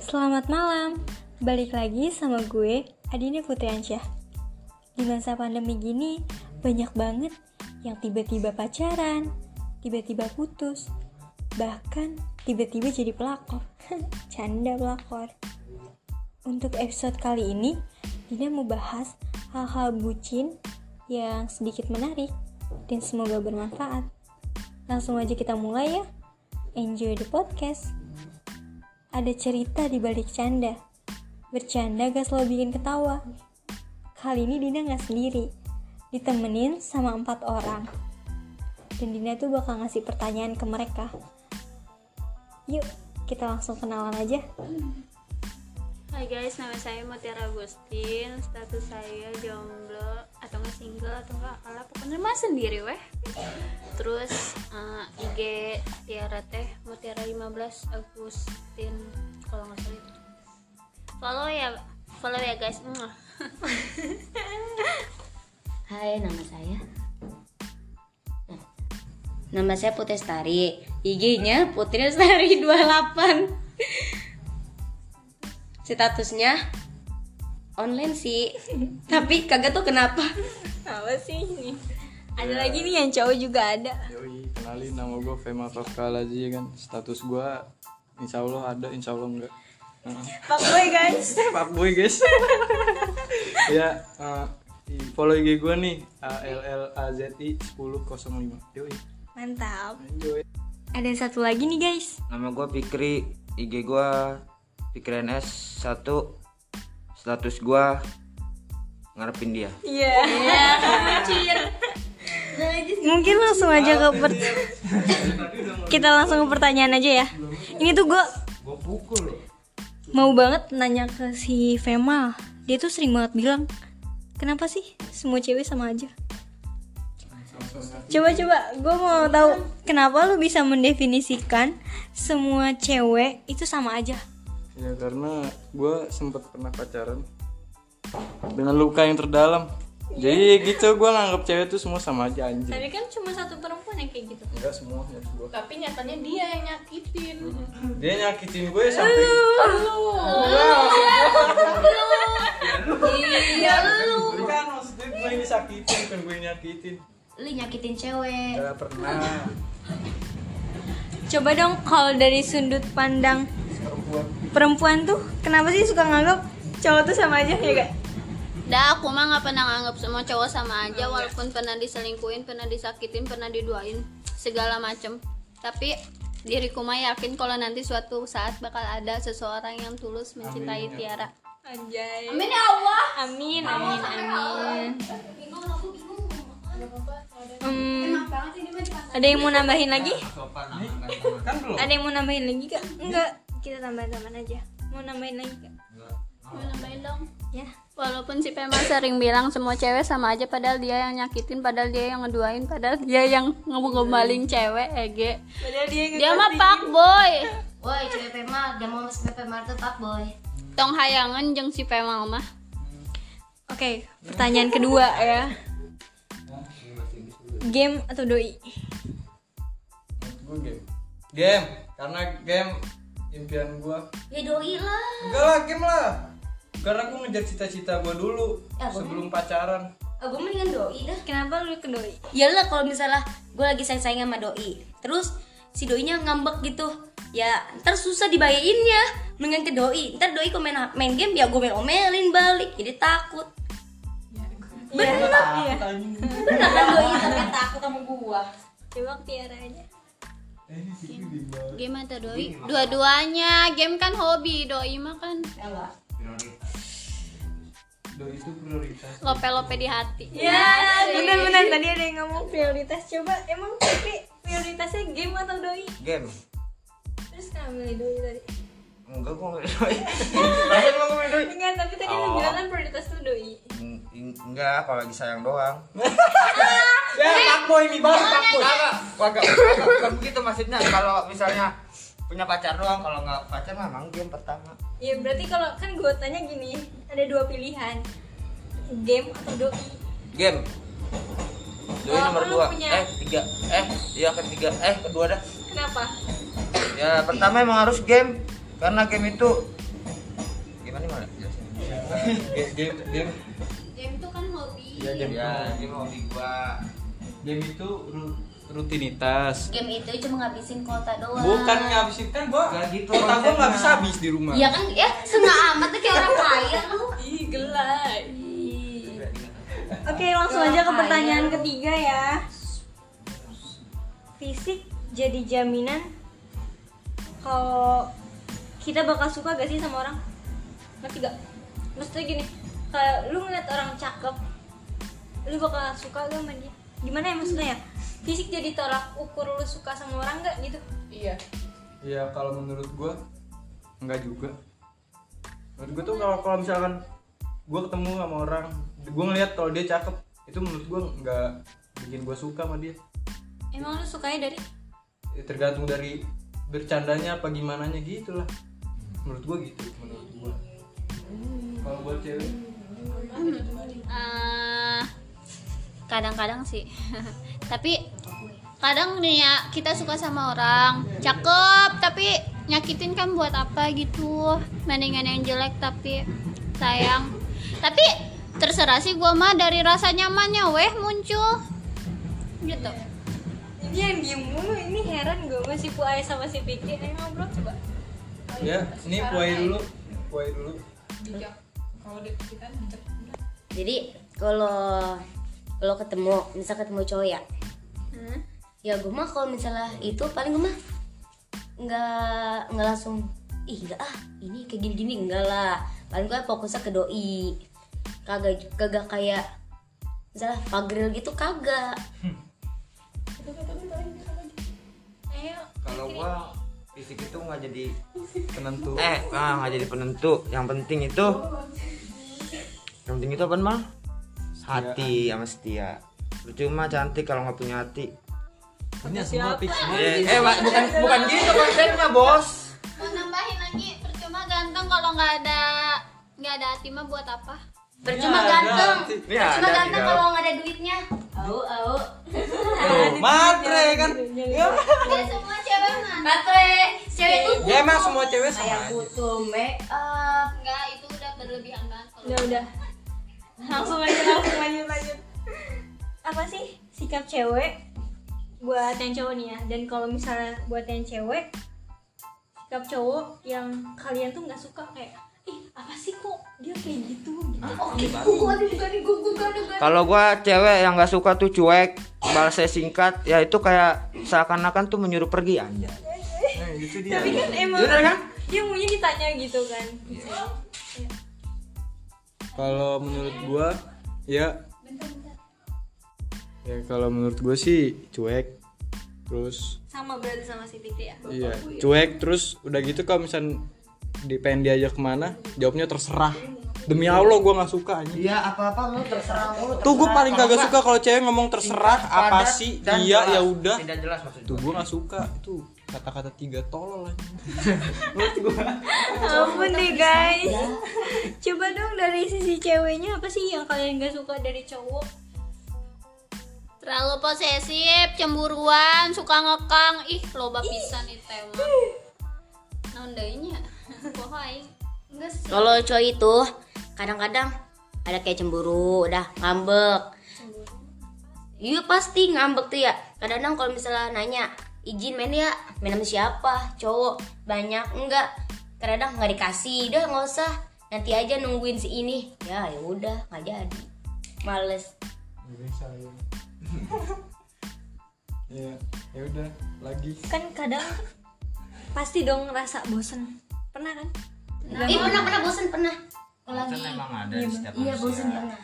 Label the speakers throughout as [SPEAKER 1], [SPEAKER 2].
[SPEAKER 1] Selamat malam, balik lagi sama gue Adine Putri Ansyah Di masa pandemi gini, banyak banget yang tiba-tiba pacaran, tiba-tiba putus Bahkan tiba-tiba jadi pelakor, canda pelakor Untuk episode kali ini, Dina mau bahas hal-hal bucin yang sedikit menarik dan semoga bermanfaat Langsung aja kita mulai ya, enjoy the podcast ada cerita di balik canda. Bercanda gak selalu bikin ketawa. Kali ini Dina gak sendiri, ditemenin sama empat orang. Dan Dina tuh bakal ngasih pertanyaan ke mereka. Yuk, kita langsung kenalan aja.
[SPEAKER 2] Hai guys, nama saya Mutiara Agustin, status saya jomblo atau enggak single atau enggak apalah pokoknya mah sendiri weh. Terus eh, IG Tiara teh Mutiara 15 Agustin kalau nggak salah itu. Follow ya, follow ya guys. Mwah.
[SPEAKER 3] Hai, nama saya. Nah, Nama saya Putri Lestari. IG-nya Putri Lestari 28. Statusnya online sih. Tapi kagak tuh kenapa.
[SPEAKER 1] Apa sih ini? Ada lagi nih yang cowok juga ada.
[SPEAKER 4] Yoi, kenalin nama gue Fema Fakalaji kan Status gue insya Allah ada, insya Allah enggak
[SPEAKER 1] Pak Boy guys.
[SPEAKER 4] Pak Boy guys Ya, eh, i- follow IG gue nih ALLAZI1005 Yoi
[SPEAKER 1] Mantap.
[SPEAKER 4] Enjoy
[SPEAKER 1] Ada satu lagi nih guys.
[SPEAKER 5] Nama gue Fikri, IG gue Fikri NS 1 Status gue ngarepin dia
[SPEAKER 1] Iya. Mungkin langsung aja ke per- kita langsung ke pertanyaan aja ya. Ini tuh gue
[SPEAKER 4] Gue pukul loh
[SPEAKER 1] mau banget nanya ke si Femal. Dia tuh sering banget bilang, kenapa sih semua cewek sama aja? Coba coba, gue mau tahu kenapa lu bisa mendefinisikan semua cewek itu sama aja.
[SPEAKER 4] Ya karena gue sempet pernah pacaran Dengan luka yang terdalam Jadi gitu gue nganggap cewek tuh semua sama aja anjing
[SPEAKER 2] Iya. kan cuma satu perempuan yang kayak gitu.
[SPEAKER 4] Enggak semua ya gue
[SPEAKER 6] tapi nyatanya dia yang nyakitin
[SPEAKER 4] Dia nyakitin gue sampai
[SPEAKER 6] iya lu
[SPEAKER 4] Bukan kan maksudnya gue yang disakitin, bukan gue yang nyakitin
[SPEAKER 3] Lu nyakitin cewek.
[SPEAKER 4] Gak pernah
[SPEAKER 1] Coba dong kalau dari sudut pandang
[SPEAKER 4] Perempuan
[SPEAKER 1] perempuan tuh kenapa sih suka nganggap cowok tuh sama aja ya gak?
[SPEAKER 2] Dah, aku mah nggak pernah nganggap semua cowok sama aja, walaupun pernah diselingkuin, pernah disakitin, pernah diduain, segala macem. Tapi diriku mah yakin kalau nanti suatu saat bakal ada seseorang yang tulus mencintai Tiara.
[SPEAKER 1] Anjay.
[SPEAKER 2] Amin ya Allah.
[SPEAKER 1] Amin, amin, amin. Hmm, ada yang mau nambahin lagi?
[SPEAKER 4] Kan belum
[SPEAKER 1] Ada yang mau nambahin lagi kak? Enggak, kita tambahin-tambahin aja. Mau nambahin lagi kak?
[SPEAKER 2] Mau nambahin dong.
[SPEAKER 1] Ya.
[SPEAKER 2] Walaupun si Pema sering bilang semua cewek sama aja padahal dia yang nyakitin, padahal dia yang ngeduain, padahal dia yang ngegembalin cewek, Ege.
[SPEAKER 1] Padahal dia
[SPEAKER 2] Dia mah pak boy.
[SPEAKER 3] Woi, cewek Pema, dia mau masuk PP Mart Pak Boy.
[SPEAKER 2] Tong hayangan jeung si Pema mah.
[SPEAKER 1] Oke, pertanyaan kedua ya. Game atau doi?
[SPEAKER 4] Gue game Game Karena game impian gue
[SPEAKER 3] Ya doi lah.
[SPEAKER 4] Enggak lah game lah Karena gue ngejar cita-cita gue dulu
[SPEAKER 7] Eh,
[SPEAKER 4] Sebelum pacaran
[SPEAKER 3] Aku Eh, mendingan doi dah.
[SPEAKER 1] Kenapa lu ke doi?
[SPEAKER 3] Iyalah kalau misalnya gue lagi sayang-sayang sama doi, terus si doinya ngambek gitu, ya ntar susah dibayainya mendingan ke doi ntar doi kalau main, main game ya gue main omelin balik jadi takut
[SPEAKER 1] Iya, Bener ya.
[SPEAKER 3] beneran kan doi sampai takut sama gua
[SPEAKER 1] Coba Tiara aja.
[SPEAKER 2] Game atau doi? Dua-duanya. Game kan hobi, doi mah kan
[SPEAKER 3] enggak
[SPEAKER 4] Doi itu prioritas
[SPEAKER 2] lope-lope di hati.
[SPEAKER 1] Ya, benar-benar tadi ada yang ngomong prioritas. Coba emang tapi prioritasnya game atau doi?
[SPEAKER 5] Game
[SPEAKER 1] Terus kenapa milih doi tadi?
[SPEAKER 5] Enggak gue nggak doi Masa emang gua nggak doi?
[SPEAKER 1] Enggak, tapi tadi lu
[SPEAKER 5] Oh.
[SPEAKER 1] bilang kan prioritas tuh doi.
[SPEAKER 5] Eng- eng- Enggak, kalau lagi sayang doang
[SPEAKER 4] Ya takboy nih baru takboy
[SPEAKER 5] Kagak, kagak, kagak, bukan begitu maksudnya Kalau misalnya punya pacar doang, kalau nggak pacar mah emang game pertama
[SPEAKER 1] Ya berarti kalau kan gue tanya gini, ada dua pilihan. Game atau doi?
[SPEAKER 5] Game Doi
[SPEAKER 1] Kalau
[SPEAKER 5] nomor
[SPEAKER 1] lu
[SPEAKER 5] dua,
[SPEAKER 1] punya-
[SPEAKER 5] eh tiga, eh iya ketiga, eh kedua dah
[SPEAKER 1] Kenapa?
[SPEAKER 5] Ya pertama emang harus game karena game itu Ya,
[SPEAKER 4] Ge- game game
[SPEAKER 8] game itu kan hobi
[SPEAKER 4] ya game
[SPEAKER 5] ya ini hobi gua
[SPEAKER 4] game itu ru- rutinitas
[SPEAKER 7] game itu cuma ngabisin kuota doang
[SPEAKER 4] bukan ngabisin kan gua
[SPEAKER 5] Nggak gitu
[SPEAKER 4] otak gua nggak
[SPEAKER 5] konsepnya.
[SPEAKER 4] bisa habis di rumah
[SPEAKER 7] ya kan ya setengah amat tuh kayak orang kaya lu
[SPEAKER 9] Ih, gelai.
[SPEAKER 3] Oke, langsung aja ke pertanyaan ketiga ya. Fisik jadi jaminan kalau kita bakal suka gak sih sama orang? Ngerti gak? Maksudnya gini, kalau lu ngeliat orang cakep, lu bakal suka gak sama dia? Gimana ya maksudnya ya? Fisik jadi tolak ukur lu suka sama orang gak gitu?
[SPEAKER 9] Iya.
[SPEAKER 4] ya kalau menurut gua nggak juga menurut gua tuh kalau kalau misalkan gua ketemu sama orang gua ngeliat kalau dia cakep itu menurut gua nggak bikin gua suka sama dia
[SPEAKER 3] Emang lu sukanya dari?
[SPEAKER 4] Ya, tergantung dari bercandanya apa gimana gitu lah menurut gua gitu menurut gua kalau buat cewek
[SPEAKER 8] Eh, kadang-kadang sih tapi kadang nih ya kita suka sama orang cakep tapi nyakitin kan buat apa gitu mendingan yang jelek tapi sayang tapi terserah sih gua mah dari rasa nyamannya weh muncul gitu
[SPEAKER 3] Ini yang diem mulu, ini heran gue masih puas sama si Fikri Ayo ngobrol coba
[SPEAKER 4] ya ini kuai dulu kuai dulu
[SPEAKER 9] Bijak. Kalau di kita bijak.
[SPEAKER 7] jadi kalau kalau ketemu misal ketemu cowok ya
[SPEAKER 8] Hmm.
[SPEAKER 7] ya gue mah kalau misalnya itu paling gue mah nggak nggak langsung ih nggak ah ini kayak gini gini enggak lah paling gue fokusnya ke doi kagak kagak kayak misalnya pagril gitu kagak
[SPEAKER 5] kalau gua fisik itu nggak jadi
[SPEAKER 4] penentu
[SPEAKER 5] eh ah, nggak jadi penentu yang penting itu yang penting itu apa mal hati sama setia lu cuma cantik kalau nggak punya hati
[SPEAKER 4] ini semua fix
[SPEAKER 5] eh, eh Pak, bukan bukan gitu konsepnya bos
[SPEAKER 8] mau nambahin lagi percuma ganteng kalau nggak ada nggak ada hati mah buat apa
[SPEAKER 7] percuma
[SPEAKER 4] Ini ada,
[SPEAKER 7] ganteng
[SPEAKER 4] Cik.
[SPEAKER 5] Ini
[SPEAKER 7] percuma
[SPEAKER 5] ada,
[SPEAKER 7] ganteng
[SPEAKER 5] tidak.
[SPEAKER 7] kalau nggak ada duitnya au au
[SPEAKER 4] Tuh, matre kan
[SPEAKER 8] Nggak semua cewek mah
[SPEAKER 7] Matre, cewek tuh
[SPEAKER 4] ya emang semua cewek sama
[SPEAKER 7] kayak
[SPEAKER 4] aja.
[SPEAKER 7] butuh make up
[SPEAKER 8] nggak itu udah berlebihan banget kalau
[SPEAKER 3] Ya udah. Langsung aja langsung lanjut lanjut. Apa sih sikap cewek buat yang cowok nih ya? Dan kalau misalnya buat yang cewek sikap cowok yang kalian tuh nggak suka kayak ih apa sih kok dia kayak gitu gitu.
[SPEAKER 4] Ah, iya,
[SPEAKER 5] kalau gua cewek yang nggak suka tuh cuek balasnya singkat ya itu kayak seakan-akan tuh menyuruh pergi aja
[SPEAKER 4] nah, itu dia
[SPEAKER 3] Tapi kan
[SPEAKER 4] Ya
[SPEAKER 3] emang
[SPEAKER 4] Iya,
[SPEAKER 5] bener kan
[SPEAKER 3] dia maunya ditanya gitu kan.
[SPEAKER 4] kalau menurut gua ya ya kalau menurut gua sih cuek terus
[SPEAKER 3] Sama berarti sama si Fikri ya.
[SPEAKER 4] iya cuek terus udah gitu kalau misalnya di pengen diajak kemana jawabnya terserah demi allah gua nggak suka aja
[SPEAKER 5] iya apa-apa lu terserah lu
[SPEAKER 4] tuh gua paling kagak suka kalau cewek ngomong terserah apa sih iya ya udah
[SPEAKER 5] tidak jelas maksud
[SPEAKER 4] tuh gua nggak suka itu kata-kata tiga tolol aja
[SPEAKER 3] Ampun deh guys. Coba dong dari sisi ceweknya apa sih yang kalian nggak suka dari cowok?
[SPEAKER 8] Terlalu posesif, cemburuan, suka ngekang. Ih, loba pisan nih tema. Nondainya. Poho aing. Nges.
[SPEAKER 7] Kalau cowok itu kadang-kadang ada kayak cemburu, udah ngambek. Iya pasti ngambek tuh ya. Kadang-kadang kalau misalnya nanya, izin main ya, main sama siapa? Cowok banyak enggak? Kadang nggak dikasih, udah nggak usah. Nanti aja nungguin si ini. Ya ya udah, nggak jadi. Males.
[SPEAKER 4] ya ya udah lagi
[SPEAKER 3] kan kadang pasti dong ngerasa bosen pernah kan
[SPEAKER 7] Ih pernah pernah bosen pernah. Kalau lagi
[SPEAKER 5] memang ada di setiap
[SPEAKER 7] iya bosen
[SPEAKER 5] manusia.
[SPEAKER 7] pernah.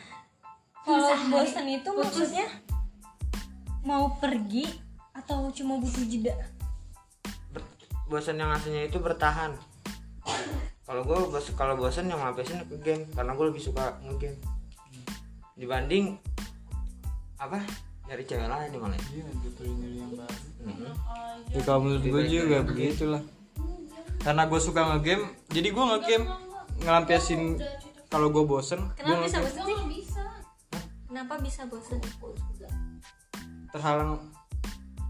[SPEAKER 3] kalau bosen itu maksudnya mau pergi atau cuma butuh jeda
[SPEAKER 5] bosan yang aslinya itu bertahan kalau gue bos kalau bosan yang ngabisin ke game karena gue lebih suka ngegame dibanding apa nyari cewek lain di mana
[SPEAKER 4] Iya, betulin diri yang baru. Ya, kalau menurut gue juga begitulah. Karena gue suka ngegame, jadi gue ngegame ngelampiasin kalau gue bosen,
[SPEAKER 3] kenapa
[SPEAKER 4] gue
[SPEAKER 3] bisa bosen sih kenapa bisa bosen
[SPEAKER 4] terhalang.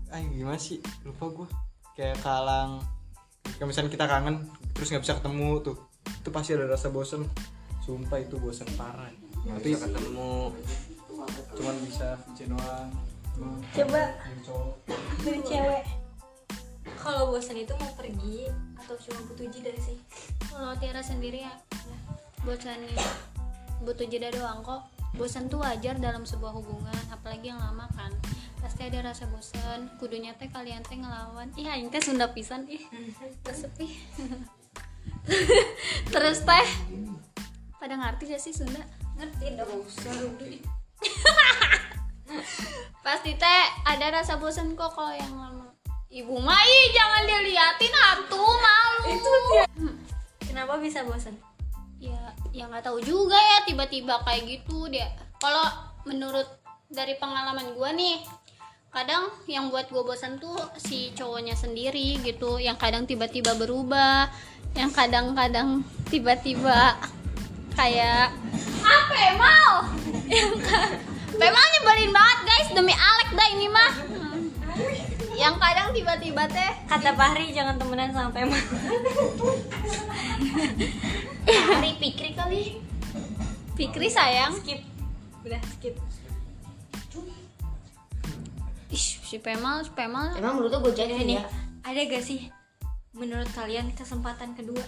[SPEAKER 4] Ah gimana sih? Lupa gue. Kayak kalang. Kayak misalnya kita kangen, terus nggak bisa ketemu tuh, itu pasti ada rasa bosen. sumpah itu bosan parah
[SPEAKER 5] nggak
[SPEAKER 4] tapi
[SPEAKER 5] bisa ketemu
[SPEAKER 4] cuman bisa VC doang Cuma
[SPEAKER 1] Coba
[SPEAKER 4] yang cowok
[SPEAKER 1] dari cewek.
[SPEAKER 3] Kalau bosan itu mau pergi atau cuma butuh jeda sih?
[SPEAKER 8] Kalau Tiara sendiri ya, bosannya butuh jeda doang kok. Bosan tuh wajar dalam sebuah hubungan, apalagi yang lama kan. Pasti ada rasa bosan. Kudunya teh kalian teh ngelawan. Ih, aing teh Sunda pisan ih. Kesepi. Terus teh pada ngerti gak sih Sunda?
[SPEAKER 3] Ngerti dong.
[SPEAKER 8] Pasti teh ada rasa bosan kok kalau yang lama. Ibu Mai jangan diliatin atuh malu.
[SPEAKER 3] Kenapa bisa bosan?
[SPEAKER 8] ya ya nggak tahu juga ya tiba-tiba kayak gitu dia kalau menurut dari pengalaman gua nih kadang yang buat gue bosan tuh si cowoknya sendiri gitu yang kadang tiba-tiba berubah yang kadang-kadang tiba-tiba kayak apa Pemal yang ka- Pemal nyebelin banget guys demi Alek dah ini mah Hmm. yang kadang tiba-tiba teh
[SPEAKER 3] Kata Fahri jangan temenan sampai mah.
[SPEAKER 7] Hari pikir kali
[SPEAKER 8] Fikri sayang
[SPEAKER 3] Skip. Udah skip.
[SPEAKER 8] Ish, si Pemal si Pemal
[SPEAKER 7] Emang menurut gue jadi
[SPEAKER 3] Ini
[SPEAKER 7] ya
[SPEAKER 3] ada gak sih menurut kalian kesempatan kedua?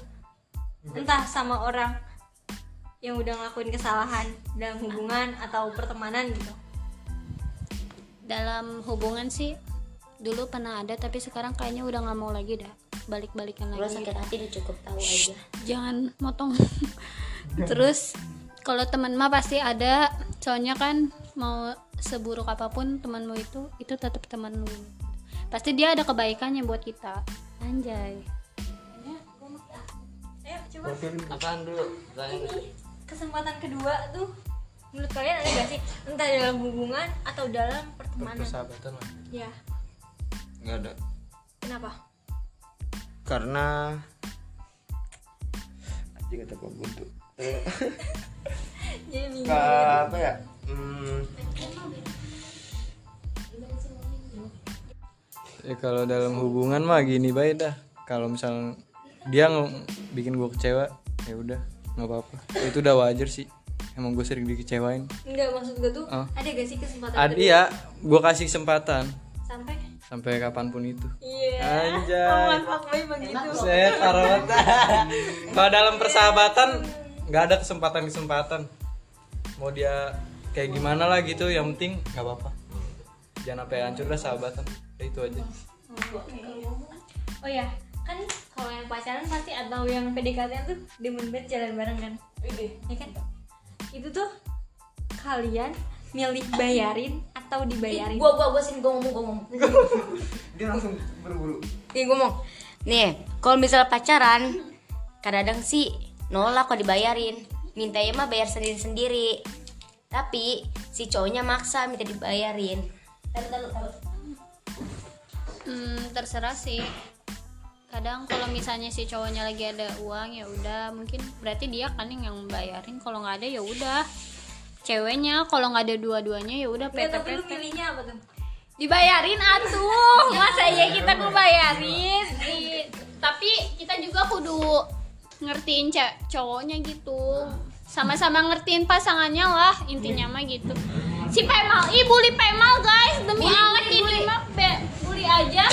[SPEAKER 3] Entah sama orang yang udah ngelakuin kesalahan dalam hubungan atau pertemanan gitu.
[SPEAKER 8] dalam hubungan sih dulu pernah ada tapi sekarang kayaknya udah nggak mau lagi dah balik-balikan
[SPEAKER 7] Lo
[SPEAKER 8] lagi
[SPEAKER 7] sakit hati udah cukup tahu aja
[SPEAKER 8] jangan motong terus kalau teman mah pasti ada soalnya kan mau seburuk apapun temanmu itu itu tetap teman lu pasti dia ada kebaikannya buat kita anjay
[SPEAKER 3] Ayo coba
[SPEAKER 4] Porfirin
[SPEAKER 5] apaan dulu Pertanyaan dulu.
[SPEAKER 3] kesempatan kedua tuh menurut kalian ada gak sih entah dalam hubungan atau dalam pertemanan?
[SPEAKER 4] persahabatan lah
[SPEAKER 3] Ya
[SPEAKER 5] nggak ada
[SPEAKER 3] kenapa?
[SPEAKER 5] karena anjing kata gua buntu Eh,
[SPEAKER 3] Jadi bingung.
[SPEAKER 5] Ka- apa ya hmm,
[SPEAKER 4] ya kalau dalam hubungan mah gini baik dah kalau misal dia nge- bikin gue kecewa ya udah nggak apa-apa itu udah wajar sih emang gue sering dikecewain
[SPEAKER 3] Enggak maksud gue tuh
[SPEAKER 4] Oh.
[SPEAKER 3] ada gak sih kesempatan
[SPEAKER 4] Adi ya gue kasih kesempatan
[SPEAKER 3] sampai?
[SPEAKER 4] sampai kapanpun itu
[SPEAKER 3] Iya.
[SPEAKER 4] anjay
[SPEAKER 3] Fuckboy begitu.
[SPEAKER 4] Set, parah banget. Kalau dalam persahabatan nggak ada kesempatan kesempatan. Mau dia kayak gimana lah gitu, yang penting nggak apa-apa. Jangan sampai hancur lah sahabatan. Ya, itu aja.
[SPEAKER 3] Oh ya kan kalau yang pacaran pasti atau yang PDKT tuh demen banget jalan bareng kan? Ya kan? Itu tuh kalian milih bayarin atau dibayarin?
[SPEAKER 7] Gue, gue, gue sini, gue ngomong, gue ngomong
[SPEAKER 5] dia langsung berburu
[SPEAKER 7] Nih gue ngomong Nih, kalau misalnya pacaran Kadang-kadang sih nolak kalau dibayarin Mintanya mah bayar sendiri-sendiri Tapi si cowoknya maksa minta dibayarin Taruh, taruh, taruh.
[SPEAKER 8] Hmm, terserah sih. Kadang kalau misalnya si cowoknya lagi ada uang ya udah mungkin berarti dia kan yang bayarin kalau nggak ada ya udah ceweknya kalau nggak ada dua-duanya ya udah
[SPEAKER 3] Nggak,
[SPEAKER 8] PT
[SPEAKER 3] Iya, tapi lu kan milihnya apa tuh?
[SPEAKER 8] dibayarin atuh masa ya kita ngebayarin Di- tapi kita juga kudu ngertiin ce- cowoknya gitu sama-sama ngertiin pasangannya lah intinya mah gitu si Pemal ih bully Pemal guys demi Alek ini mah be- bully aja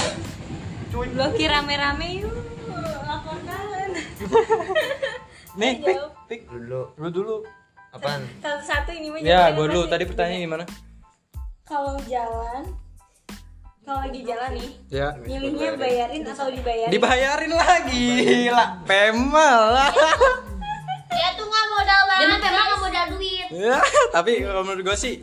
[SPEAKER 3] Blokir rame-rame yuk laporkan.
[SPEAKER 4] Nih, pik, pik.
[SPEAKER 5] dulu
[SPEAKER 4] Lu dulu.
[SPEAKER 5] apaan
[SPEAKER 3] Satu-satu ini mah
[SPEAKER 4] Ya,
[SPEAKER 3] jawabannya
[SPEAKER 4] gue dulu.
[SPEAKER 3] masih-
[SPEAKER 4] Tadi pertanyaan gimana?
[SPEAKER 3] kalau jalan kalau lagi jalan nih
[SPEAKER 4] Ya.
[SPEAKER 3] milihnya bayarin atau dibayarin
[SPEAKER 4] Dibayarin lagi, gila. Pemal lah.
[SPEAKER 8] dia Ya, tuh nggak modal
[SPEAKER 7] Dia
[SPEAKER 8] banget
[SPEAKER 7] mah memang nggak modal duit
[SPEAKER 4] Ya, tapi kalau menurut gue sih,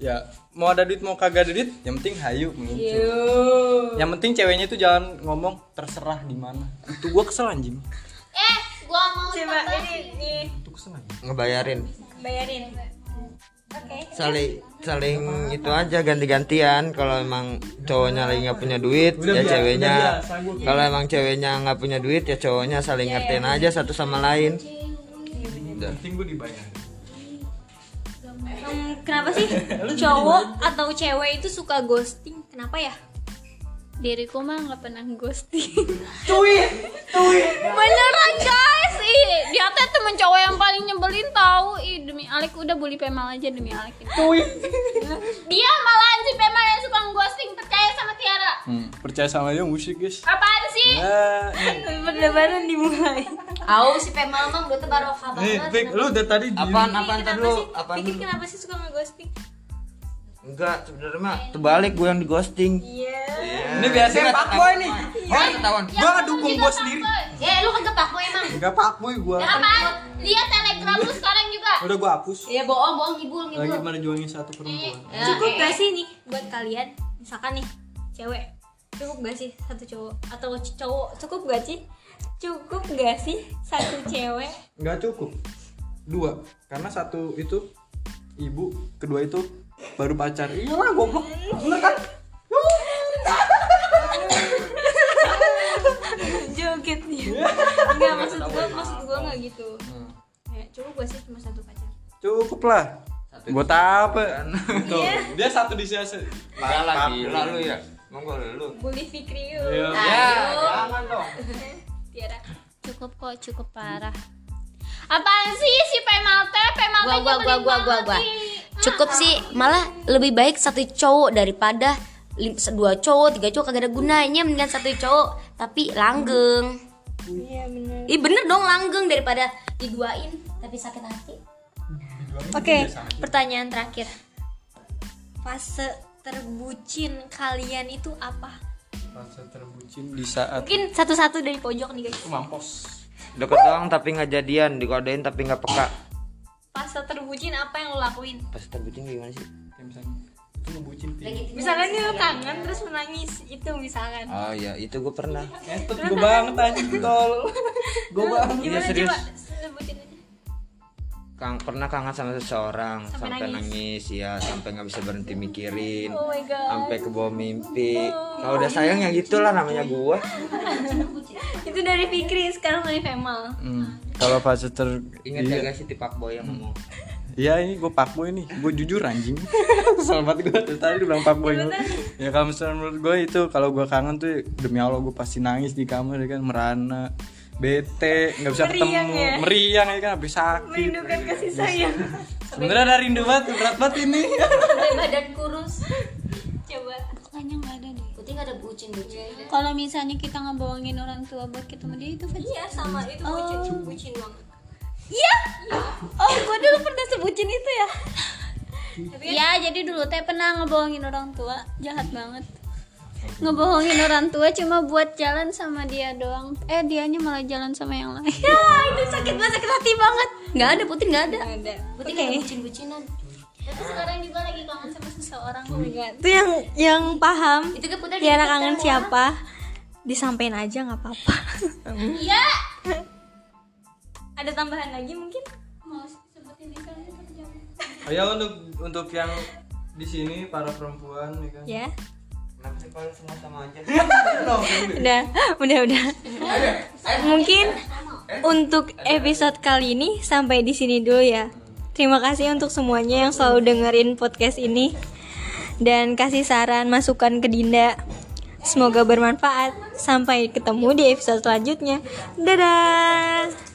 [SPEAKER 4] ya mau ada duit mau kagak ada duit, yang penting hayu muncul. Yang penting ceweknya itu jangan ngomong terserah di mana. Itu gue kesel anjing.
[SPEAKER 8] eh gua mau
[SPEAKER 3] coba ini nih
[SPEAKER 4] Itu kesel anjing.
[SPEAKER 5] ngebayarin
[SPEAKER 3] bayarin Eh,
[SPEAKER 5] saling saling itu aja ganti-gantian kalau emang cowoknya lagi nggak punya duit
[SPEAKER 4] Udah
[SPEAKER 5] ya
[SPEAKER 4] biasa,
[SPEAKER 5] ceweknya
[SPEAKER 4] udah biasa, gua gitu.
[SPEAKER 5] kalau emang ceweknya nggak punya duit ya cowoknya
[SPEAKER 3] Iya,
[SPEAKER 5] saling ngertiin aja satu sama lain
[SPEAKER 4] Yang penting gue dibayar.
[SPEAKER 3] Hmm, kenapa sih cowok atau cewek itu suka ghosting kenapa ya
[SPEAKER 8] diriku mah nggak pernah ghosting cuy cuy beneran guys ih dia teh temen cowok yang paling nyebelin tahu ih demi Alek udah bully Pemal aja demi Alek ini. dia malahan si Pemal yang suka ghosting percaya sama Tiara
[SPEAKER 4] Hmm, percaya sama dia musik guys
[SPEAKER 8] apaan sih
[SPEAKER 4] ya ini-
[SPEAKER 3] Berdebaran dimulai.
[SPEAKER 7] Au si Pemal mah udah tebar
[SPEAKER 4] nih
[SPEAKER 7] banget.
[SPEAKER 4] Vic, lu dari tadi diem.
[SPEAKER 5] apaan apaan
[SPEAKER 3] iya,
[SPEAKER 5] tadi
[SPEAKER 3] Kenapa
[SPEAKER 5] lu
[SPEAKER 3] sih?
[SPEAKER 5] apaan
[SPEAKER 3] Pikir
[SPEAKER 5] dulu?
[SPEAKER 3] kenapa sih suka ngeghosting?
[SPEAKER 5] enggak sebenarnya mah terbalik gue yang di ghosting
[SPEAKER 3] Iya.
[SPEAKER 4] ini biasanya pak boy nih Iya,
[SPEAKER 5] oh ketahuan
[SPEAKER 4] gua ngedukung gua sendiri
[SPEAKER 7] Ya lu kagak pakai emang.
[SPEAKER 4] nggak pak boy gua
[SPEAKER 8] apaan dia telegram lu sekarang juga
[SPEAKER 4] udah gua hapus
[SPEAKER 7] Ya bohong, bohong ngibul,
[SPEAKER 4] lagi
[SPEAKER 7] ngibul.
[SPEAKER 4] merjuangin satu perempuan
[SPEAKER 7] Ya,
[SPEAKER 3] Cukup
[SPEAKER 7] eh,
[SPEAKER 3] gak sih nih buat kalian? Misalkan nih cewek. Cukup gak sih satu cowok atau c- cowok? Cukup gak sih? Cukup gak sih satu cewek?
[SPEAKER 4] nggak cukup dua karena satu itu ibu kedua itu baru pacar iya lah goblok bener kan
[SPEAKER 3] Joget nih. Enggak maksud gua, maksud gua enggak gitu. Ya, cukup gak sih cuma satu pacar?
[SPEAKER 4] cukup lah buat apa tuh dia satu di sini
[SPEAKER 5] parah lagi lalu ya monggo lu
[SPEAKER 3] Bully Fikri yuk.
[SPEAKER 5] ya jangan dong
[SPEAKER 3] Tiara.
[SPEAKER 8] cukup kok cukup parah apaan sih si Pemal teh Pemal
[SPEAKER 7] Gua
[SPEAKER 8] teh
[SPEAKER 7] gua gua
[SPEAKER 8] nyebelin
[SPEAKER 7] gua gua
[SPEAKER 8] banget
[SPEAKER 7] gua.
[SPEAKER 8] sih.
[SPEAKER 7] Cukup sih, malah lebih baik satu cowok daripada lim- dua cowok, tiga cowok kagak ada gunanya mendingan satu cowok tapi langgeng. Iya bener. Ih bener dong langgeng daripada diduain tapi sakit hati.
[SPEAKER 3] Oke, pertanyaan terakhir. Fase terbucin kalian itu apa?
[SPEAKER 4] masa terbucin di saat
[SPEAKER 3] Mungkin satu-satu dari pojok nih guys.
[SPEAKER 4] mampus
[SPEAKER 5] deket doang tapi nggak jadian dikodein tapi nggak peka
[SPEAKER 3] Fase terbucin apa yang lo lakuin?
[SPEAKER 5] pas terbucin gimana sih
[SPEAKER 4] kayak misalnya itu ngebucin pi
[SPEAKER 3] Misalnya nih lo kangen terus menangis itu misalkan.
[SPEAKER 5] oh ya itu gue pernah
[SPEAKER 4] entot gue "Eh, banget anjing tol gue banget
[SPEAKER 5] Iya serius
[SPEAKER 3] Sebutin aja.
[SPEAKER 5] Kang, pernah kangen sama seseorang sampai, nangis. Oh ya sampai nggak bisa berhenti mikirin sampai ke bawah mimpi kalau udah sayang ya gitulah namanya gua
[SPEAKER 3] Itu dari Fikri sekarang dari Femal.
[SPEAKER 4] Hmm. kalau fase ter
[SPEAKER 5] ingat ya guys si tipak boy yang ngomong
[SPEAKER 4] Iya ini gue pakboy nih, gue jujur anjing Kesel banget gue, dari tadi dibilang pakboy mulu. Ya kalau misalnya menurut gue itu, kalau gue kangen tuh demi Allah gue pasti nangis di kamar ya kan Merana, bete, gak bisa ketemu Meriang ya kan, habis sakit
[SPEAKER 3] Merindukan kasih sayang.
[SPEAKER 4] Sebenernya ada rindu banget, berat banget ini
[SPEAKER 7] Sampai badan kurus.
[SPEAKER 3] Coba.
[SPEAKER 8] Kayaknya nggak ada deh
[SPEAKER 7] Putih gak ada bucin-bucin.
[SPEAKER 8] kalau misalnya kita ngebohongin orang tua buat ketemu dia itu kan
[SPEAKER 3] Iya sama itu bucin bucin banget. Iya. Oh, gua dulu pernah sebucin itu ya.
[SPEAKER 8] Ya, jadi dulu teh pernah ngebohongin orang tua, jahat banget. Ngebohongin orang tua cuma buat jalan sama dia doang. Eh, dianya malah jalan sama yang lain.
[SPEAKER 3] Ya, itu sakit banget, sakit hati banget.
[SPEAKER 7] Nggak ada Putih nggak ada.
[SPEAKER 3] Ada.
[SPEAKER 7] Putih nggak ada bucin-bucinan.
[SPEAKER 8] Tapi sekarang juga lagi kangen sama seseorang.
[SPEAKER 3] Itu yang yang paham.
[SPEAKER 7] Itu kan Putih
[SPEAKER 3] Tiara kangen siapa? Disampaikan aja nggak apa-apa.
[SPEAKER 8] Iya.
[SPEAKER 3] Ada tambahan lagi mungkin?
[SPEAKER 8] Mau sebutin di sana itu jangan.
[SPEAKER 4] Oh ya untuk, untuk yang di sini para perempuan ya kan
[SPEAKER 3] Ya.
[SPEAKER 5] kenapa sih kalau semua sama aja
[SPEAKER 3] Udah, udah, udah. Mungkin untuk episode kali ini sampai di sini dulu ya. Terima kasih untuk semuanya yang selalu dengerin podcast ini dan kasih saran masukan ke Dinda. Semoga bermanfaat. Sampai ketemu di episode selanjutnya. Dadah.